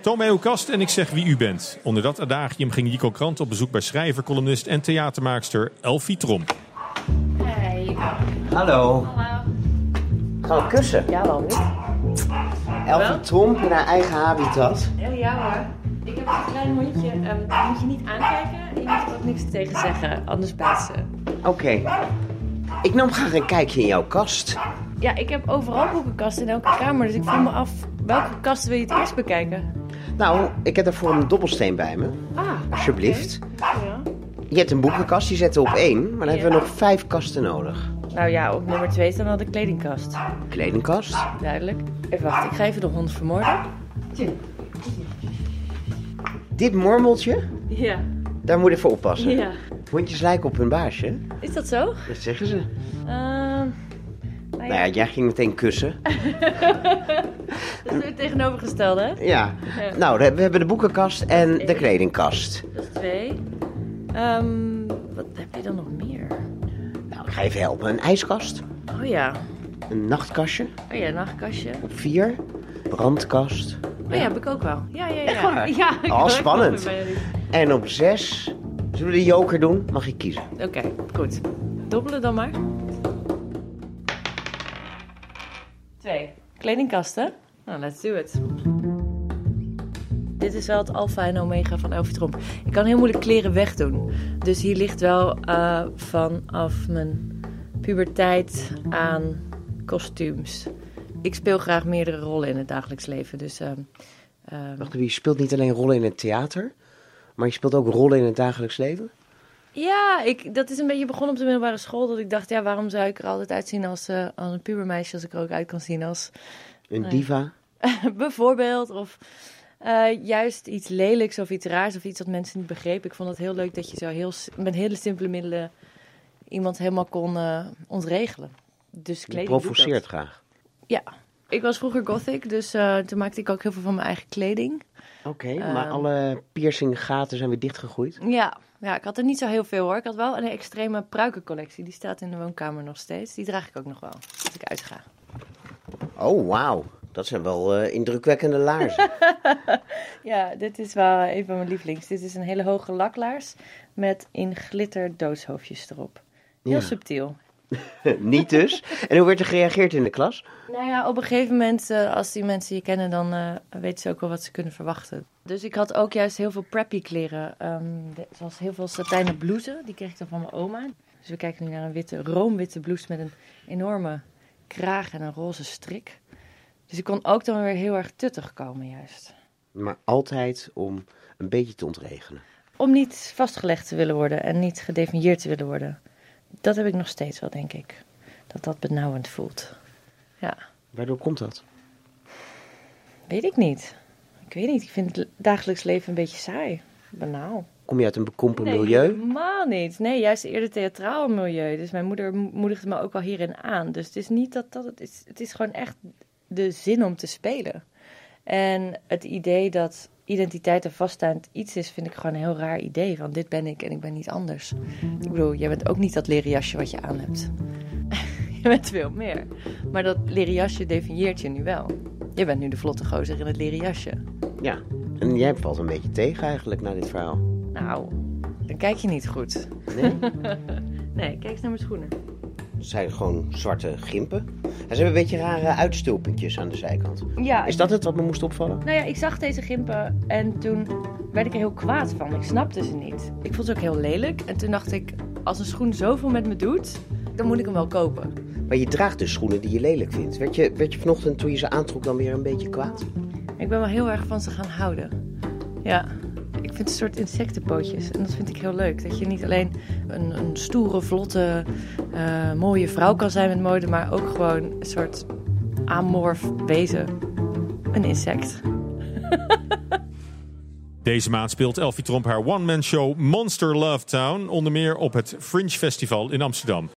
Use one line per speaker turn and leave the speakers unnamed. Toon mij uw kast en ik zeg wie u bent. Onder dat adagium ging Jico Krant op bezoek bij schrijver, columnist en theatermaakster Elfie Tromp.
Hey.
Hallo. Gaan we kussen?
Ja, waarom niet?
Elfie Tromp in haar eigen habitat.
Ja, Oh, ja hoor. Ik heb een klein hondje. ehm die moet je niet aankijken. En je moet er ook niks tegen zeggen. Anders bijt ze.
Oké. Ik nam graag een kijkje in jouw kast.
Ja, ik heb overal boekenkasten in elke kamer. Dus ik vroeg me af, welke kast wil je het eerst bekijken?
Nou, ik heb daarvoor een dobbelsteen bij me.
Ah,
Alsjeblieft.
ja.
Je hebt een boekenkast, die zetten we op één. Maar dan
Ja.
hebben we nog vijf kasten nodig.
Nou ja, op nummer twee staat dan de kledingkast.
Kledingkast.
Duidelijk. Even wachten, ik ga even de hond vermoorden.
Dit mormeltje,
Ja,
daar moet je voor oppassen.
ja.
Hondjes lijken op hun baasje.
Is dat zo?
Dat zeggen ze.
Ehm nou
Nou ja,
ja,
jij ging meteen kussen.
dat is het tegenovergestelde, hè?
Ja.
Ja.
Nou, we hebben de boekenkast en de kledingkast.
Dat is twee. Ehm, wat heb je dan nog meer?
Nou, ik ga even helpen. Een ijskast.
Oh ja.
Een nachtkastje.
Oh ja, een nachtkastje.
Op vier. Brandkast.
Oh ja, heb ik ook wel. Ja, ja, ja.
Echt waar?
Ja, ik
Oh,
wil echt
spannend.
nog bij jullie.
En op zes. Zullen we de joker doen? Mag ik kiezen?
Oké, goed. Dobbelen dan maar. Twee. Kledingkasten. Nou, let's do it. Dit is wel het alfa en omega van Elfie Tromp. Ik kan heel moeilijk kleren wegdoen. Dus hier ligt wel eh, vanaf mijn puberteit aan kostuums. Ik speel graag meerdere rollen in het dagelijks leven. Dus ehm, ehm,
Wacht even, je speelt niet alleen rollen in het theater, maar je speelt ook rollen in het dagelijks leven.
Ja, ik, dat is een beetje begonnen op de middelbare school. Dat ik dacht, ja, waarom zou ik er altijd uitzien als, eh, als een pubermeisje... als ik er ook uit kan zien als
Een
Nee.
diva.
bijvoorbeeld... of eh, juist iets lelijks of iets raars of iets wat mensen niet begrepen. Ik vond het heel leuk dat je zo heel, s- met hele simpele middelen... iemand helemaal kon eh, ontregelen. Dus
Die
kleding doet dat.
provoceert graag.
Ja. Ik was vroeger gothic, dus eh, toen maakte ik ook heel veel van mijn eigen kleding.
Oké, maar
Ehm.
alle piercinggaten zijn weer dichtgegroeid.
Ja, ja, ik had er niet zo heel veel hoor. Ik had wel een extreme pruikencollectie. Die staat in de woonkamer nog steeds. Die draag ik ook nog wel, als ik uitga.
Oh, wauw. Dat zijn wel eh, indrukwekkende laarzen.
Ja, dit is wel eh, een van mijn lievelings. Dit is een hele hoge laklaars met in glitter doodshoofdjes erop. Heel
Ja.
subtiel.
niet dus. En hoe werd er gereageerd in de klas?
Nou ja, op een gegeven moment, eh, als die mensen je kennen, dan eh, weten ze ook wel wat ze kunnen verwachten. Dus ik had ook juist heel veel preppy kleren. Ehm, de- zoals heel veel satijnen blouses. Die kreeg ik dan van mijn oma. Dus we kijken nu naar een witte, roomwitte blouse met een enorme kraag en een roze strik. Dus ik kon ook dan weer heel erg tuttig komen juist.
Maar altijd om een beetje te ontregelen.
Om niet vastgelegd te willen worden en niet gedefinieerd te willen worden. Dat heb ik nog steeds wel, denk ik. Dat dat benauwend voelt. Ja.
Waardoor komt dat?
Weet ik niet. Ik weet niet. Ik vind het dagelijks leven een beetje saai. Banaal.
Kom je uit een bekrompen
Nee,
milieu?
helemaal niet. Nee, juist eerder theatraal milieu. Dus mijn moeder mo- moedigde me ook wel hierin aan. Dus het is niet dat dat het is. Het is gewoon echt de zin om te spelen. En het idee dat identiteit een vaststaand iets is, vind ik gewoon een heel raar idee. Van dit ben ik en ik ben niet anders. Ik bedoel, jij bent ook niet dat leren jasje wat je aan hebt. je bent veel meer. Maar dat leren jasje definieert je nu wel. Je bent nu de vlotte gozer in het leren jasje.
Ja. En jij valt een beetje tegen eigenlijk na dit verhaal.
Nou, dan kijk je niet goed.
Nee?
Nee, kijk eens naar mijn schoenen.
Het zijn gewoon zwarte gimpen. En ze hebben een beetje rare uitstulpentjes aan de zijkant.
Ja,
Is dat het wat me moest opvallen?
Nou ja, ik zag deze gimpen en toen werd ik er heel kwaad van. Ik snapte ze niet. Ik vond ze ook heel lelijk. En toen dacht ik, als een schoen zoveel met me doet, dan moet ik hem wel kopen.
Maar je draagt dus schoenen die je lelijk vindt. Werd je, werd je vanochtend toen je ze aantrok dan weer een beetje kwaad?
Ik ben wel heel erg van ze gaan houden. Ja, ik vind het een soort insectenpootjes. En dat vind ik heel leuk. Dat je niet alleen een, een stoere, vlotte, eh, mooie vrouw kan zijn met mode, maar ook gewoon een soort amorf wezen. Een insect.
Deze maand speelt Elfie Tromp haar one-man show Monster Love Town onder meer op het Fringe Festival in Amsterdam.